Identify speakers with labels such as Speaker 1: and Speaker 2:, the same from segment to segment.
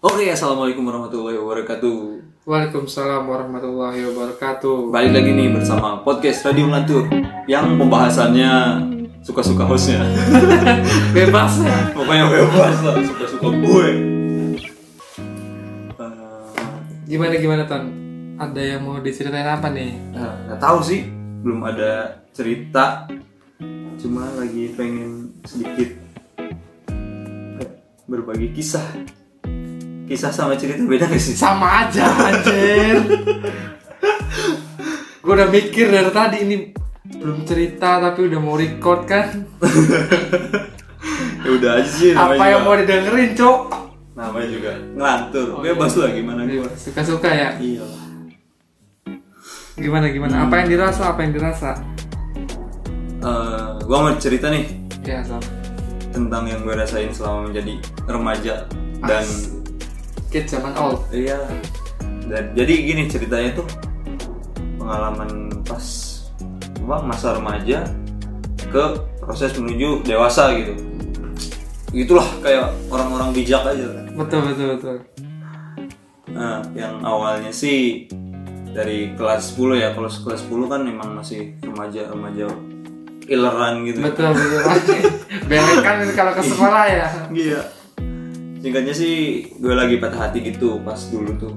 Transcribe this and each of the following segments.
Speaker 1: Oke, assalamualaikum warahmatullahi wabarakatuh.
Speaker 2: Waalaikumsalam warahmatullahi wabarakatuh.
Speaker 1: Balik lagi nih bersama podcast Radio Melantur yang pembahasannya suka-suka hostnya.
Speaker 2: Bebas ya.
Speaker 1: Pokoknya bebas lah, suka-suka gue. Eh,
Speaker 2: Gimana gimana Ton? Ada yang mau diceritain apa nih?
Speaker 1: eh, Nggak tahu sih, belum ada cerita. Cuma lagi pengen sedikit eh, berbagi kisah. Kisah sama cerita beda gak sih?
Speaker 2: Sama aja anjir. Gue udah mikir dari tadi ini belum cerita tapi udah mau record kan.
Speaker 1: Ya udah aja sih.
Speaker 2: Apa
Speaker 1: namanya
Speaker 2: yang
Speaker 1: juga-
Speaker 2: mau Oh, didengerin, Cok?
Speaker 1: namanya juga ngelantur. Bebas
Speaker 2: iya.
Speaker 1: lah gimana gue.
Speaker 2: Suka-suka ya.
Speaker 1: Iya.
Speaker 2: Gimana gimana? Apa yang dirasa? Apa yang dirasa?
Speaker 1: Eh, gua mau cerita nih
Speaker 2: Ya, Son.
Speaker 1: tentang yang gue rasain selama menjadi remaja dan
Speaker 2: As- Kids zaman old.
Speaker 1: iya dan jadi gini ceritanya tuh pengalaman pas gua masa remaja ke proses menuju dewasa gitu itulah kayak orang-orang bijak aja lah.
Speaker 2: Betul betul betul.
Speaker 1: Nah, yang awalnya sih dari kelas 10 ya kalau kelas 10 kan memang masih remaja remaja ileran gitu
Speaker 2: Betul betul. Belekan kalau ke sekolah ya.
Speaker 1: Iya. Singkatnya sih gue lagi patah hati gitu pas dulu tuh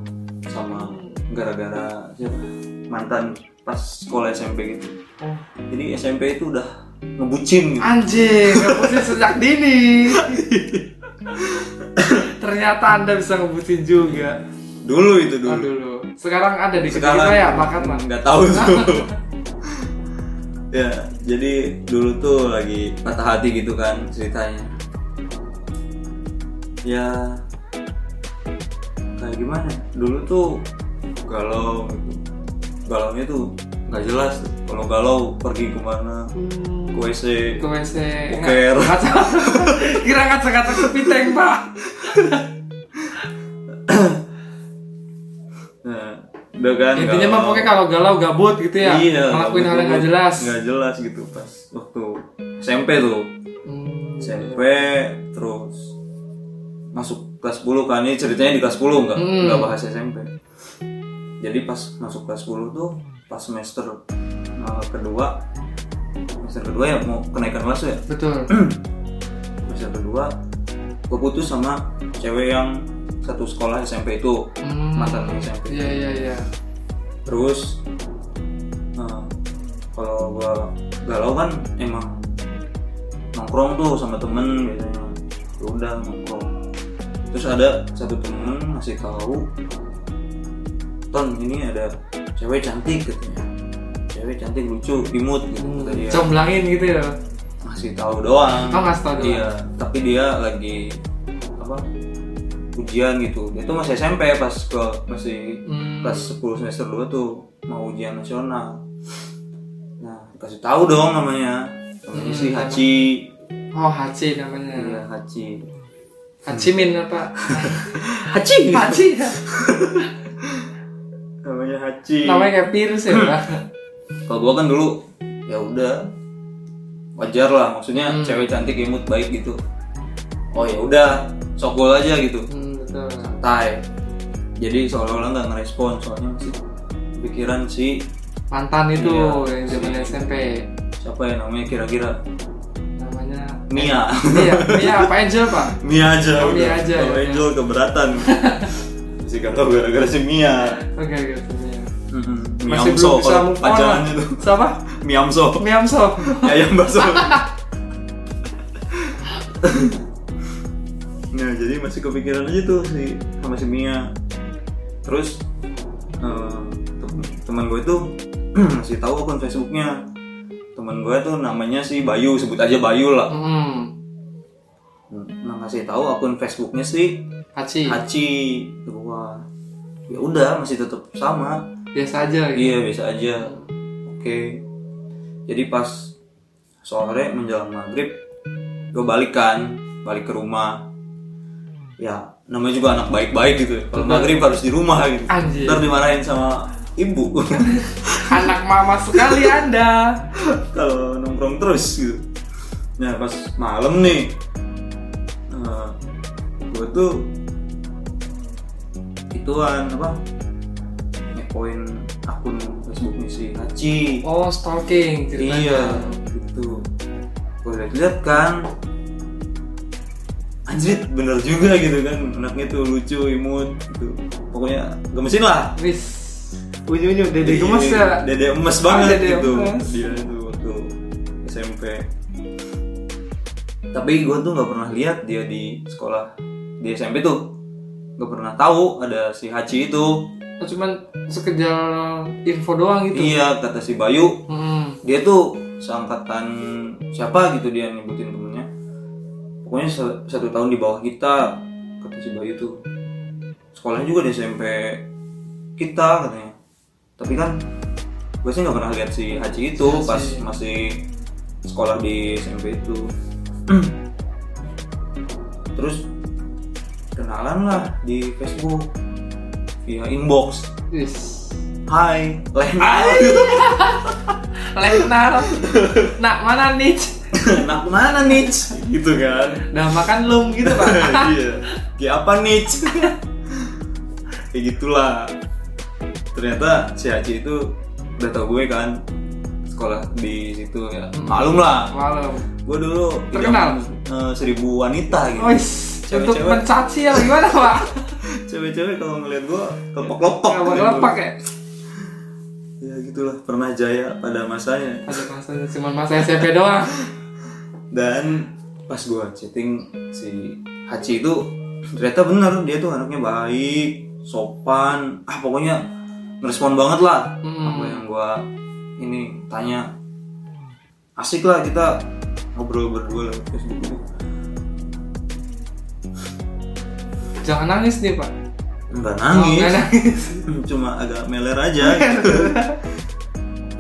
Speaker 1: sama gara-gara siapa? mantan pas sekolah SMP gitu.
Speaker 2: Oh.
Speaker 1: Jadi SMP itu udah ngebucin gitu.
Speaker 2: Anjing, ngebutin sejak dini. Ternyata Anda bisa ngebutin juga.
Speaker 1: Dulu itu
Speaker 2: Oh,
Speaker 1: dulu.
Speaker 2: dulu. Sekarang ada di kedai kita ya, bakat lah.
Speaker 1: nggak tahu tuh. ya, jadi dulu tuh lagi patah hati gitu kan ceritanya. Ya kayak gimana? Dulu tuh galau gitu. Galaunya tuh nggak jelas. Kalau galau pergi kemana? Ke WC.
Speaker 2: Ke WC.
Speaker 1: Boker.
Speaker 2: Nggak- Kaca. Kira kaca-kaca kepiteng, Pak.
Speaker 1: Nah, udah kan.
Speaker 2: Intinya mah
Speaker 1: galau.
Speaker 2: pokoknya kalau galau gabut gitu ya,
Speaker 1: Iya,
Speaker 2: ngelakuin hal yang nggak jelas.
Speaker 1: Nggak jelas gitu pas waktu SMP tuh.
Speaker 2: Hmm.
Speaker 1: SMP terus masuk kelas 10 kan ini ceritanya di kelas 10 nggak
Speaker 2: Hmm.
Speaker 1: nggak bahas SMP jadi pas masuk kelas 10 tuh pas semester eh, kedua semester kedua ya mau kenaikan kelas tuh ya
Speaker 2: Betul.
Speaker 1: semester kedua gue putus sama cewek yang satu sekolah SMP itu
Speaker 2: Hmm.
Speaker 1: mantan SMP
Speaker 2: Iya, iya, iya.
Speaker 1: terus eh, kalau gua galau kan emang nongkrong tuh sama temen biasanya Ya udah nongkrong terus ada satu temen ngasih tahu ton ini ada cewek cantik katanya cewek cantik lucu imut gitu kata dia
Speaker 2: Comblangin gitu ya.
Speaker 1: ngasih tahu doang
Speaker 2: Oh, ngasih tahu doang.
Speaker 1: iya tapi dia lagi apa ujian gitu dia tuh masih SMP pas ke masih
Speaker 2: Hmm.
Speaker 1: kelas 10 semester 2 tuh mau ujian nasional nah kasih tahu dong namanya namanya si Haji
Speaker 2: Oh, Hachi namanya.
Speaker 1: Hmm. iya Haji
Speaker 2: Hachimin apa?
Speaker 1: Haji gitu.
Speaker 2: Hachi.
Speaker 1: namanya Haji
Speaker 2: Namanya kayak virus ya, Pak.
Speaker 1: kalau gua kan dulu ya udah wajar lah maksudnya cewek cantik imut baik gitu oh ya udah sokol aja gitu
Speaker 2: Hmm, betul.
Speaker 1: tai jadi seolah-olah nggak ngerespon soalnya masih pikiran si
Speaker 2: Mantan itu
Speaker 1: Iya.
Speaker 2: yang zaman SMP.
Speaker 1: siapa ya namanya kira-kira
Speaker 2: Namanya
Speaker 1: Mia
Speaker 2: Mia, Mia apa Angel, Pak?
Speaker 1: Mia aja.
Speaker 2: Oh, Mia
Speaker 1: udah.
Speaker 2: aja,
Speaker 1: Kalau
Speaker 2: ya.
Speaker 1: Angel keberatan. si kalau gara-gara si Mia.
Speaker 2: Oke, oke, itu Mia. Masih
Speaker 1: Miamso
Speaker 2: belum bisa
Speaker 1: kalau
Speaker 2: move on. lah.
Speaker 1: pacarannya tuh.
Speaker 2: Siapa?
Speaker 1: Miamso.
Speaker 2: Miamso.
Speaker 1: Ayam bakso. nah, jadi masih kepikiran aja tuh si sama si Mia. Terus eh, tem- teman gue tuh masih tahu akun Facebooknya. Teman gue tuh namanya si Bayu, sebut aja Bayu lah.
Speaker 2: Hmm.
Speaker 1: Nah, kasih tahu akun Facebooknya si
Speaker 2: Hachi.
Speaker 1: Haji kedua ya udah masih tetap sama
Speaker 2: Biasa aja gitu.
Speaker 1: iya biasa aja oke jadi pas sore menjelang maghrib gue balik kan balik ke rumah ya namanya juga anak baik-baik gitu ya. kalau maghrib harus di rumah gitu
Speaker 2: Anjir.
Speaker 1: ntar dimarahin sama ibu
Speaker 2: Anak mama sekali Anda.
Speaker 1: kalau nongkrong terus gitu nah pas malam nih eh, gue tuh ituan apa ngepoin akun Facebook misi Haji
Speaker 2: oh stalking ceritanya
Speaker 1: iya gitu gue lihat kan anjir bener juga gitu kan anaknya tuh lucu imut gitu pokoknya gemesin lah
Speaker 2: wis ujung-ujung dede
Speaker 1: Iya,
Speaker 2: gemes ya
Speaker 1: dede emas banget
Speaker 2: Dede
Speaker 1: gitu
Speaker 2: emas.
Speaker 1: dia itu waktu SMP tapi gue tuh nggak pernah lihat dia di sekolah di SMP tuh nggak pernah tahu ada si Haji itu
Speaker 2: Oh, cuman sekedar info doang gitu
Speaker 1: iya kata si Bayu
Speaker 2: Hmm.
Speaker 1: dia tuh seangkatan siapa gitu dia nyebutin temennya pokoknya se- satu tahun di bawah kita kata si Bayu tuh sekolahnya juga di SMP kita katanya tapi kan gue sih nggak pernah lihat si Haji itu
Speaker 2: Iya
Speaker 1: pas
Speaker 2: sih.
Speaker 1: masih sekolah di SMP itu terus kenalan lah di Facebook via inbox
Speaker 2: Wis.
Speaker 1: Hai Lena
Speaker 2: Hai. Lenar. Nak mana nih?
Speaker 1: anak mana nih gitu kan
Speaker 2: Udah makan belum gitu, Pak?
Speaker 1: iya kayak apa nih kayak gitulah ternyata si Haji itu udah tau gue kan sekolah di situ ya malum lah
Speaker 2: Malam.
Speaker 1: gue dulu
Speaker 2: Terkenal?
Speaker 1: idaman, eh, seribu wanita gitu
Speaker 2: Wis. Untuk
Speaker 1: Cewek-cewek.
Speaker 2: mencaci ya gimana, Pak?
Speaker 1: cewek-cewek kalau ngeliat gue kelepok-kelepok
Speaker 2: Kabar lepak ya.
Speaker 1: ya gitulah pernah jaya pada ya. masanya
Speaker 2: Ada masanya cuma masa SMP doang.
Speaker 1: dan pas gue chatting si Haji itu ternyata bener dia tuh anaknya baik sopan ah pokoknya ngerespon banget lah
Speaker 2: Hmm.
Speaker 1: apa yang gue ini tanya asik lah kita ngobrol berdua gitu. lewat Facebook itu
Speaker 2: Jangan nangis nih, Pak.
Speaker 1: nggak
Speaker 2: Oh,
Speaker 1: nangis
Speaker 2: nggak nangis.
Speaker 1: cuma agak meler aja gitu.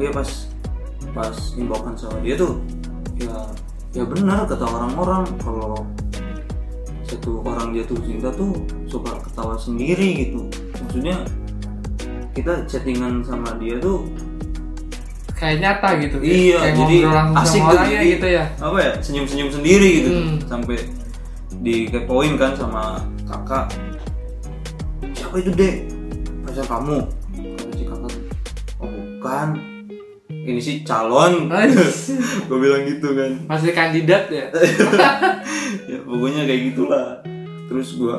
Speaker 1: Iya pas pas imbokan sama dia tuh ya ya benar kata orang-orang kalau satu orang jatuh cinta tuh suka ketawa sendiri gitu maksudnya kita chattingan sama dia tuh
Speaker 2: Kayak nyata gitu.
Speaker 1: Iya,
Speaker 2: Kayak
Speaker 1: jadi
Speaker 2: ngobrol langsung
Speaker 1: asik
Speaker 2: sama
Speaker 1: tuh,
Speaker 2: orangnya
Speaker 1: jadi-
Speaker 2: gitu ya.
Speaker 1: apa ya senyum-senyum sendiri gitu
Speaker 2: Hmm.
Speaker 1: sampai dikepoin kan sama kakak siapa itu dek pacar kamu kata si kakak oh bukan ini sih calon
Speaker 2: Wis.
Speaker 1: gue bilang gitu kan
Speaker 2: Masih kandidat ya.
Speaker 1: ya pokoknya kayak gitulah terus gue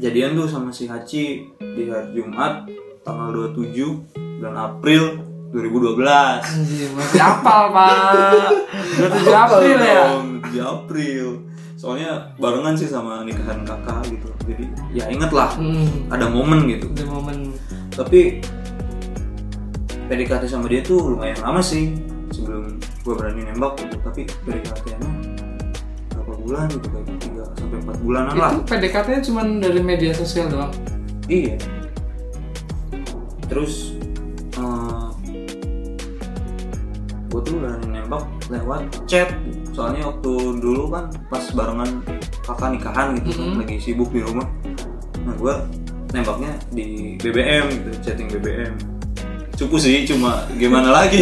Speaker 1: jadian tuh sama si Haji di hari Jumat tanggal 27 bulan April 2012
Speaker 2: Anjir, masih apal, Pak. 27 April
Speaker 1: Apa
Speaker 2: ya.
Speaker 1: dong, 7 April. Soalnya barengan sih sama nikahan kakak gitu. Jadi ya inget lah
Speaker 2: Hmm.
Speaker 1: ada momen gitu.
Speaker 2: Ada momen
Speaker 1: Tapi PDKT sama dia tuh lumayan lama sih sebelum gue berani nembak gitu. Tapi PDKT-nya berapa bulan gitu kayak 3 sampai 4 bulanan lah.
Speaker 2: itu PDKT-nya cuma dari media sosial doang.
Speaker 1: Iya. Terus eh gue tuh udah nembak lewat chat. Soalnya waktu dulu kan pas barengan kakak nikahan gitu kan,
Speaker 2: Mhm.
Speaker 1: lagi sibuk di rumah. Nah gue nembaknya di BBM gitu, chatting BBM. Cukup sih, cuma gimana lagi.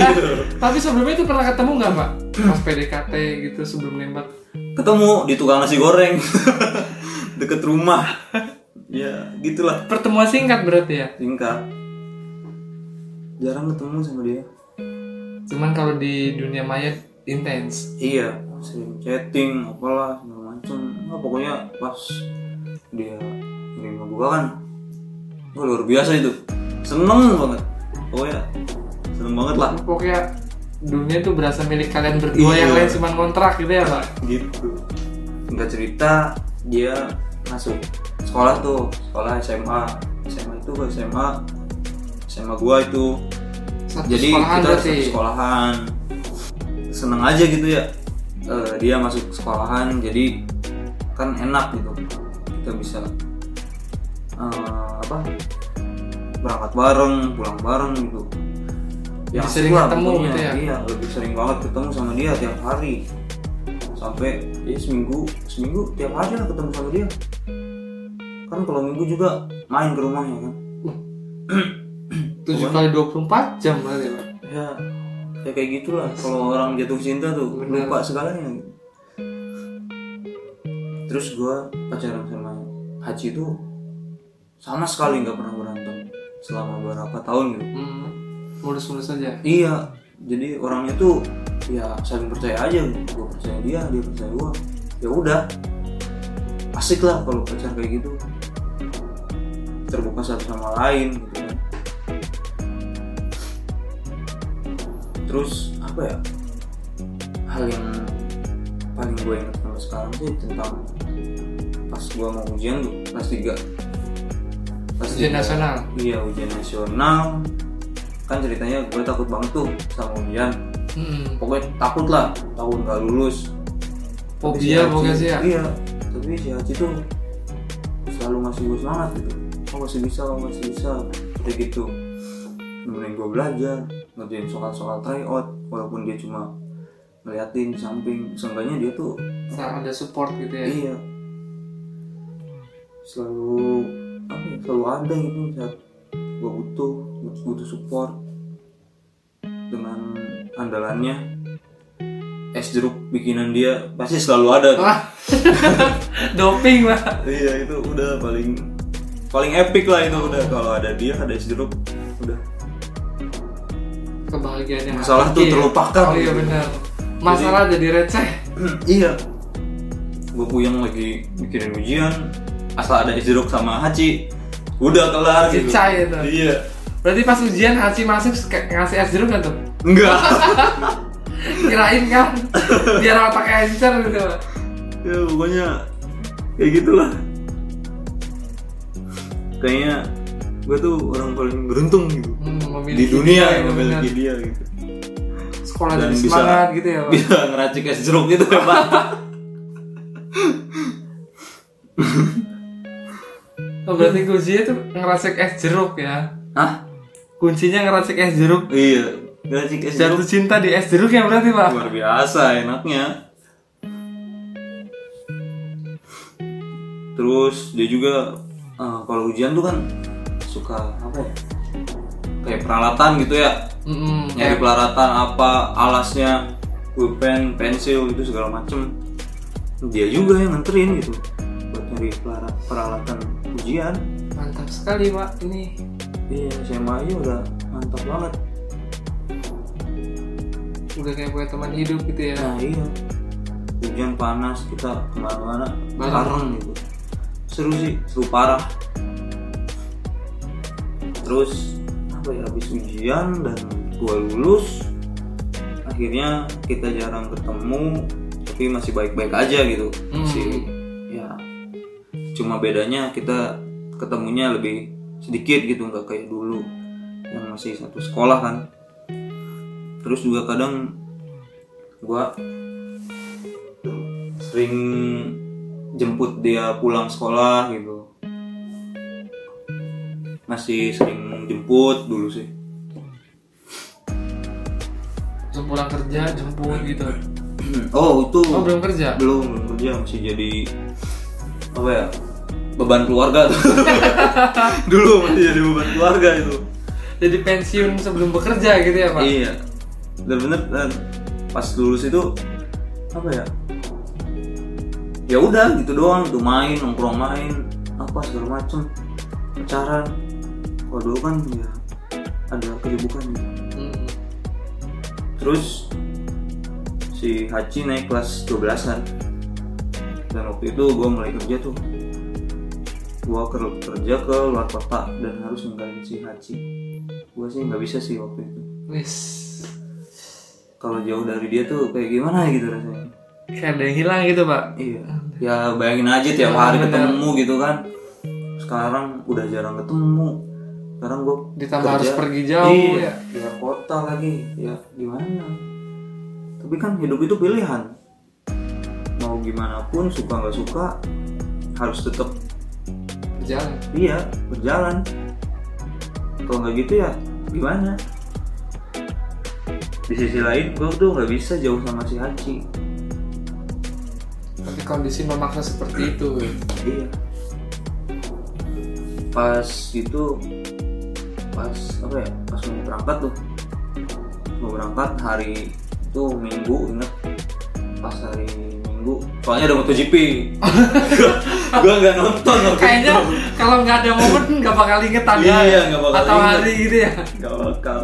Speaker 2: Tapi sebelumnya itu pernah ketemu nggak pak? Pas PDKT gitu sebelum nembak.
Speaker 1: Ketemu di tukang nasi goreng deket rumah. Ya gitulah.
Speaker 2: Pertemuan singkat berarti ya.
Speaker 1: Singkat. Jarang ketemu sama dia.
Speaker 2: Cuman kalau di dunia maya intens.
Speaker 1: iya sering chatting apalah segala macem Nah, pokoknya pas dia nerima gua kan gua luar biasa itu seneng banget pokoknya seneng banget lah
Speaker 2: Pokoknya dunia itu berasa milik kalian berdua
Speaker 1: Iya.
Speaker 2: yang lain cuma kontrak gitu ya pak.
Speaker 1: gitu nggak cerita dia masuk sekolah tuh sekolah SMA SMA itu gua SMA SMA gua itu
Speaker 2: Satu
Speaker 1: jadi
Speaker 2: sekolahan
Speaker 1: kita
Speaker 2: berarti.
Speaker 1: satu sekolahan seneng aja gitu ya Eh, dia masuk sekolahan jadi kan enak gitu kita bisa eh, apa berangkat bareng pulang bareng gitu
Speaker 2: Lebih
Speaker 1: asik
Speaker 2: sering
Speaker 1: lah
Speaker 2: ketemu
Speaker 1: pokoknya.
Speaker 2: gitu ya?
Speaker 1: iya lebih sering banget ketemu sama dia tiap hari sampai ya seminggu seminggu tiap hari lah ketemu sama dia kan kalau minggu juga main ke rumahnya kan Iya.
Speaker 2: Tujuh kali 24 jam berarti pak.
Speaker 1: ya ya kayak gitulah kalau orang jatuh cinta tuh
Speaker 2: Bener.
Speaker 1: lupa segalanya terus gua pacaran sama Haji tuh sama sekali nggak pernah berantem selama berapa tahun gitu
Speaker 2: Hmm, mulus-mulus aja.
Speaker 1: Iya, jadi orangnya tuh ya saling percaya aja gitu. Gue percaya dia, dia percaya gue. Ya udah, asik lah kalau pacar kayak gitu. Terbuka satu sama lain gitu kan. Terus apa ya? Hal yang paling gue ingat sampai sekarang sih tentang pas gue mau ujian tuh kelas 3 Kelas
Speaker 2: Ujian
Speaker 1: tiga.
Speaker 2: nasional.
Speaker 1: Iya ujian nasional kan ceritanya gue takut banget tuh sama ujian
Speaker 2: Hmm,
Speaker 1: pokoknya takut lah takut nggak lulus Tapi
Speaker 2: fobia
Speaker 1: Haji-
Speaker 2: pokoknya sih ya.
Speaker 1: iya tapi si Haji tuh selalu ngasih gue semangat gitu oh masih bisa oh, masih bisa kayak gitu nemenin gue belajar ngerjain soal-soal tryout walaupun dia cuma ngeliatin di samping seenggaknya dia tuh
Speaker 2: Sa- Ada support gitu ya.
Speaker 1: iya selalu apa ya, selalu ada gitu saat gue butuh butuh support dengan andalannya es jeruk bikinan dia pasti selalu ada tuh.
Speaker 2: Wah. Doping lah.
Speaker 1: iya itu udah paling paling epic lah itu udah kalau ada dia ada es jeruk udah
Speaker 2: Kebahagiaan yang
Speaker 1: Masalah tuh
Speaker 2: hakiki.
Speaker 1: terlupakan. gitu.
Speaker 2: Oh iya benar. Masalah jadi, receh.
Speaker 1: iya gue puyeng lagi mikirin ujian asal ada es jeruk sama haci udah kelar
Speaker 2: Si
Speaker 1: gitu
Speaker 2: Cai itu.
Speaker 1: iya
Speaker 2: Berarti pas ujian Haji masuk kayak ngasih es jeruk nggak tuh?
Speaker 1: enggak
Speaker 2: Kirain kan biar otak encer gitu.
Speaker 1: ya pokoknya kayak gitulah kayaknya gue tuh orang paling beruntung gitu
Speaker 2: Hmm, memiliki
Speaker 1: di dunia
Speaker 2: dia,
Speaker 1: yang
Speaker 2: ya, benar.
Speaker 1: memiliki dia gitu
Speaker 2: sekolah
Speaker 1: Dan
Speaker 2: jadi
Speaker 1: bisa-
Speaker 2: semangat gitu ya, Pak.
Speaker 1: bisa ngeracik es jeruk gitu hebat
Speaker 2: Oh, berarti kuncinya tuh ngeracik es jeruk ya.
Speaker 1: Hah?
Speaker 2: Kuncinya ngeracik es jeruk.
Speaker 1: iya ngeracik es jeruk
Speaker 2: Jatuh cinta di es jeruk ya berarti, Pak.
Speaker 1: luar biasa enaknya terus dia juga eh, kalau hujan tuh kan suka apa ya kayak peralatan gitu ya
Speaker 2: Mm-mm,
Speaker 1: nyari
Speaker 2: Eh, kayak
Speaker 1: pelaratan apa alasnya pulpen pensil itu segala macem dia juga yang nganterin gitu buat nyari pelara- peralatan ujian
Speaker 2: mantap sekali, Pak. Ini
Speaker 1: iya SMA aja udah mantap banget
Speaker 2: udah kayak punya teman hidup gitu ya.
Speaker 1: nah iya hujan panas kita kemana-mana
Speaker 2: Bareng.
Speaker 1: bareng gitu seru sih seru parah terus apa ya habis ujian dan gua lulus akhirnya kita jarang ketemu tapi masih baik-baik aja gitu
Speaker 2: Hmm.
Speaker 1: masih ya cuma bedanya kita ketemunya lebih sedikit gitu nggak kayak dulu yang masih satu sekolah kan terus juga kadang gua sering jemput dia pulang sekolah gitu masih sering jemput dulu sih
Speaker 2: Langsung pulang kerja, jemput gitu.
Speaker 1: oh itu
Speaker 2: Oh, belum kerja.
Speaker 1: belum belum kerja masih jadi apa ya beban keluarga tuh dulu masih jadi beban keluarga itu
Speaker 2: Jadi pensiun sebelum bekerja gitu ya, Pak.
Speaker 1: iya bener-bener eh, pas lulus itu apa ya ya udah gitu doang tuh main nongkrong main apa segala macem pacaran kalau dulu kan ya ada kesibukan gitu.
Speaker 2: Mm.
Speaker 1: terus si Haji naik kelas 12 an dan waktu itu gue mulai kerja tuh gue kerja ke luar kota dan harus ninggalin si Haji gue sih nggak bisa sih waktu itu
Speaker 2: Wis.
Speaker 1: kalau jauh dari dia tuh kayak gimana gitu rasanya
Speaker 2: Kayak ada yang hilang gitu, Pak.
Speaker 1: iya ya bayangin aja tiap
Speaker 2: Iya,
Speaker 1: hari
Speaker 2: bener.
Speaker 1: ketemu gitu kan sekarang udah jarang ketemu sekarang gue
Speaker 2: Ditambah harus pergi jauh
Speaker 1: iya, ya kota lagi ya gimana tapi kan hidup itu pilihan mau gimana pun suka nggak suka harus tetap
Speaker 2: Berjalan.
Speaker 1: iya berjalan kalau nggak gitu ya gimana di sisi lain gue tuh nggak bisa jauh sama si Haji
Speaker 2: Tapi kondisi memaksa seperti itu. ya.
Speaker 1: Iya. Pas itu pas apa ya? Pas mau berangkat tuh. Mau berangkat hari itu Minggu inget pas hari Minggu soalnya ada MotoGP gua nggak nonton waktu
Speaker 2: Kayaknya
Speaker 1: itu.
Speaker 2: kalau nggak ada momen nggak bakal inget tanggal
Speaker 1: Iya, nggak bakal
Speaker 2: atau
Speaker 1: inget.
Speaker 2: hari gitu ya.
Speaker 1: Gak bakal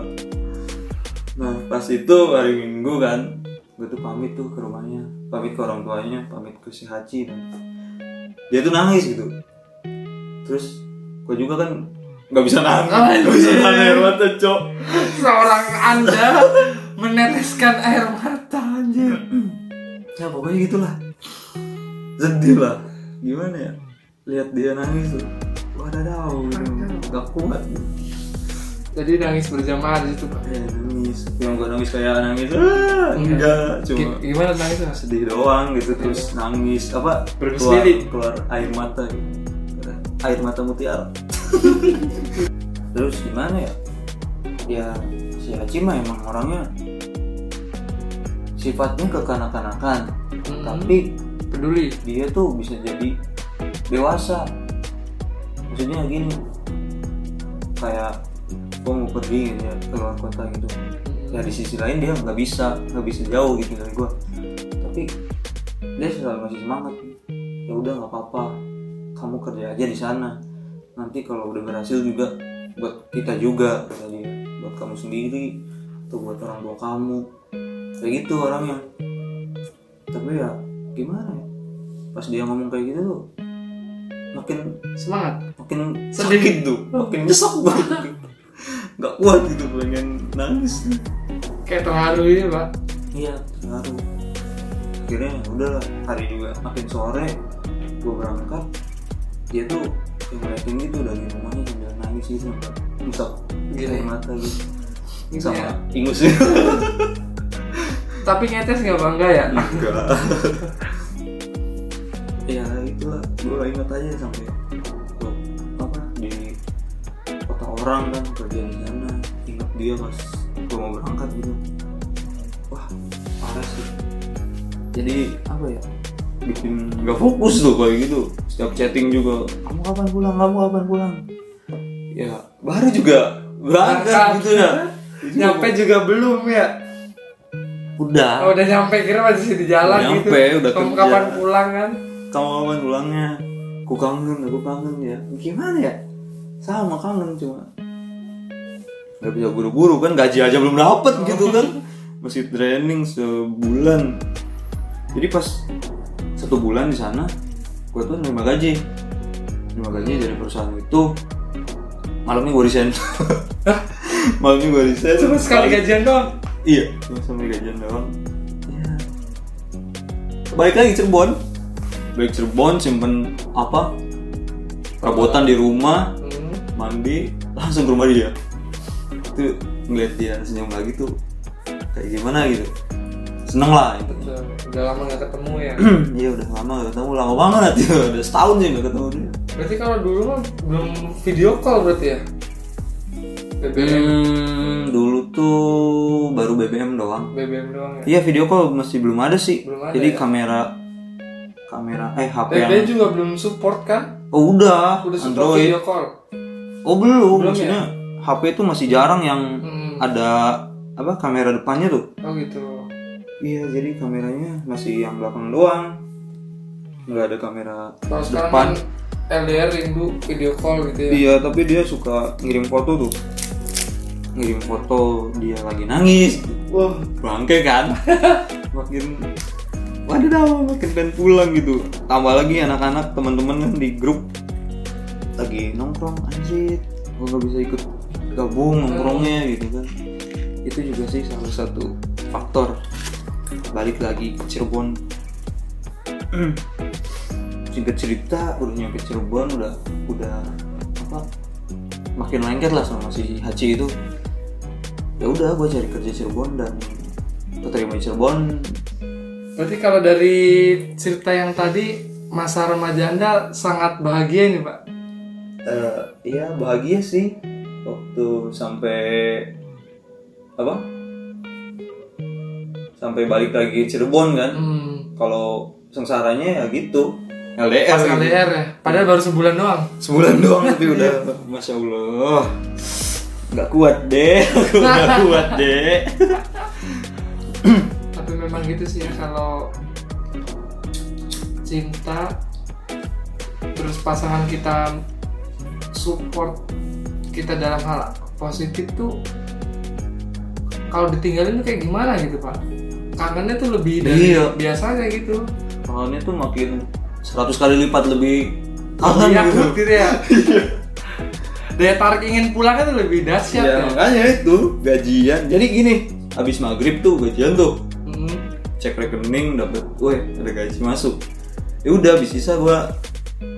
Speaker 1: Nah pas itu hari minggu kan Gue tuh pamit tuh ke rumahnya Pamit ke orang tuanya Pamit ke si Haji dan Dia tuh nangis gitu Terus gue juga kan Gak bisa nangis Gak bisa
Speaker 2: Anjing.
Speaker 1: nahan air mata cok
Speaker 2: Seorang anda meneteskan air mata anjir.
Speaker 1: Ya pokoknya gitulah Sedih lah Gimana ya Lihat dia nangis tuh Wadadaw gitu. Gak kuat gitu.
Speaker 2: Jadi nangis berjamaah di situ pak.
Speaker 1: Ya, nangis Yang gue nangis kayak nangis ah, Enggak Cuma
Speaker 2: Gi- Gimana nangisnya? Mas?
Speaker 1: Iya, sedih doang gitu terus nangis apa
Speaker 2: Iya. Berhenti
Speaker 1: keluar,
Speaker 2: sendiri.
Speaker 1: keluar air mata gitu. air mata mutiara terus gimana ya ya si Haji mah emang orangnya sifatnya kekanak-kanakan
Speaker 2: Mm-mm.
Speaker 1: tapi
Speaker 2: Peduli.
Speaker 1: dia tuh bisa jadi dewasa maksudnya gini kayak gue mau pergi gitu ya keluar kota gitu ya di sisi lain dia nggak bisa nggak bisa jauh gitu dari gue tapi dia selalu masih semangat ya udah nggak apa-apa kamu kerja aja di sana nanti kalau udah berhasil juga buat kita juga kata dia buat kamu sendiri atau buat orang tua kamu kayak gitu orangnya tapi ya gimana ya pas dia ngomong kayak gitu tuh makin
Speaker 2: Semangat.
Speaker 1: makin
Speaker 2: Sedih.
Speaker 1: sakit tuh makin nyesek banget nggak kuat gitu pengen nangis
Speaker 2: Kayak terharu ini pak.
Speaker 1: Iya, terharu. Akhirnya ya udahlah, hari juga makin sore gue berangkat. Dia tuh yang ngeliatin gitu dari rumahnya sambil nangis gitu, bisa
Speaker 2: Gini.
Speaker 1: air mata gitu.
Speaker 2: Gini
Speaker 1: Sama
Speaker 2: ya.
Speaker 1: ingusnya.
Speaker 2: Tapi ngetes nggak bangga ya?
Speaker 1: Enggak. ya itulah, gue ingat aja sampai gua, apa di kota orang kan kerja di sana ingat dia pas gue mau berangkat gitu wah parah sih jadi apa ya bikin nggak fokus tuh kayak gitu setiap chatting juga kamu kapan pulang kamu kapan pulang ya baru juga berangkat
Speaker 2: Berangkat.
Speaker 1: gitu ya Itu
Speaker 2: nyampe juga belum ya?
Speaker 1: udah
Speaker 2: Oh, udah nyampe kira masih di jalan
Speaker 1: Udah
Speaker 2: gitu.
Speaker 1: nyampe, udah
Speaker 2: Kamu
Speaker 1: kerja.
Speaker 2: kapan pulang kan?
Speaker 1: kamu kapan pulangnya ku kangen aku kangen ya gimana ya sama kangen cuma nggak bisa buru-buru kan gaji aja belum dapet gitu kan masih training sebulan jadi pas satu bulan di sana gue tuh nerima gaji nerima gaji dari perusahaan itu malamnya gue resign malamnya gue resign
Speaker 2: Cuma sekali gajian doang.
Speaker 1: Iya, cuma sampai gajian doang. Iya. Balik lagi Cirebon. Balik Cirebon simpen apa? Perabotan di rumah,
Speaker 2: Hmm.
Speaker 1: mandi, langsung ke rumah dia. Itu ngeliat dia senyum lagi tuh kayak gimana gitu. Seneng lah itu.
Speaker 2: Udah, udah lama nggak ketemu ya.
Speaker 1: Iya udah lama gak ketemu, lama banget ya. Udah setahun ya gak ketemu dia.
Speaker 2: Berarti kalau dulu mah belum video call berarti ya? BBM,
Speaker 1: Hmm, dulu tuh baru BBM doang.
Speaker 2: BBM doang ya.
Speaker 1: Iya video call masih belum ada sih.
Speaker 2: Belum ada,
Speaker 1: Jadi
Speaker 2: ya?
Speaker 1: kamera kamera eh HP yang
Speaker 2: BBM juga belum support kan?
Speaker 1: oh, udah
Speaker 2: Udah support
Speaker 1: Android.
Speaker 2: video call.
Speaker 1: Oh belum,
Speaker 2: Belum
Speaker 1: maksudnya HP itu masih jarang yang
Speaker 2: Hmm.
Speaker 1: ada apa kamera depannya tuh.
Speaker 2: Oh gitu.
Speaker 1: Iya jadi kameranya masih yang belakang doang. Nggak ada kamera
Speaker 2: Kalau sekarang
Speaker 1: depan.
Speaker 2: kan LDR rindu video call gitu ya.
Speaker 1: Iya tapi dia suka ngirim foto tuh. Ngirim foto dia lagi nangis. Wah bangke kan. makin wadadah makin pengen pulang gitu. Tambah lagi anak-anak teman-teman kan di grup lagi nongkrong anjir gue gak bisa ikut gabung nongkrongnya gitu kan itu juga sih salah satu faktor balik lagi ke Cirebon singkat cerita udah nyampe Cirebon udah udah apa makin lengket lah sama si Haji itu ya udah gue cari kerja Cirebon dan keterima di Cirebon
Speaker 2: Berarti kalau dari cerita yang tadi masa remaja Anda sangat bahagia nih, Pak.
Speaker 1: eh ya bahagia sih waktu sampai apa sampai balik lagi Cirebon kan
Speaker 2: Hmm.
Speaker 1: kalau sengsaranya ya gitu LDR
Speaker 2: Pas
Speaker 1: gitu.
Speaker 2: LDR ya. Padahal baru sebulan doang.
Speaker 1: sebulan doang tapi udah Iya. masya Allah nggak kuat deh aku nggak kuat deh
Speaker 2: tapi memang gitu sih ya kalau cinta terus pasangan kita support kita dalam hal positif tuh kalau ditinggalin tuh kayak gimana gitu pak kangennya tuh lebih dari
Speaker 1: Iya.
Speaker 2: biasanya gitu
Speaker 1: Kalau ini tuh makin 100 kali lipat lebih kangen
Speaker 2: Lebih
Speaker 1: gitu.
Speaker 2: akut gitu ya daya tarik ingin pulangnya tuh lebih dahsyat
Speaker 1: Ya,
Speaker 2: ya,
Speaker 1: makanya itu gajian. Jadi gini, habis maghrib tuh gajian tuh
Speaker 2: Hmm.
Speaker 1: cek rekening dapet, weh ada gaji masuk. Ya udah, habis sisa gua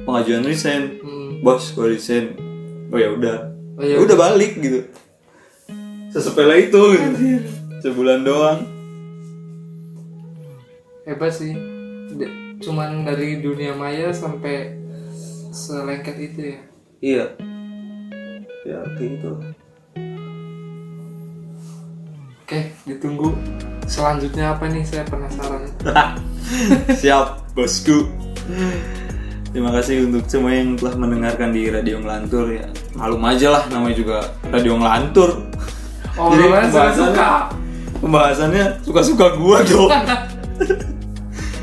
Speaker 1: pengajuan resign.
Speaker 2: Hmm.
Speaker 1: Bos, gua resign. Oh ya udah.
Speaker 2: Oh,
Speaker 1: Ya
Speaker 2: ya
Speaker 1: udah balik gitu. Sesepele itu gitu. Sebulan doang.
Speaker 2: hebat sih D- cuman dari dunia maya sampai selengket itu ya
Speaker 1: Iya. Ya kayak gitu.
Speaker 2: oke ditunggu selanjutnya apa nih saya penasaran
Speaker 1: Siap, bosku. Terima kasih untuk semua yang telah mendengarkan di Radio Ngelantur ya. Malum aja lah namanya juga Radio Ngelantur.
Speaker 2: oh
Speaker 1: Jadi
Speaker 2: lumayan saya
Speaker 1: pembahasannya-
Speaker 2: suka
Speaker 1: Pembahasannya suka-suka gua, Jo.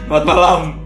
Speaker 1: Selamat malam.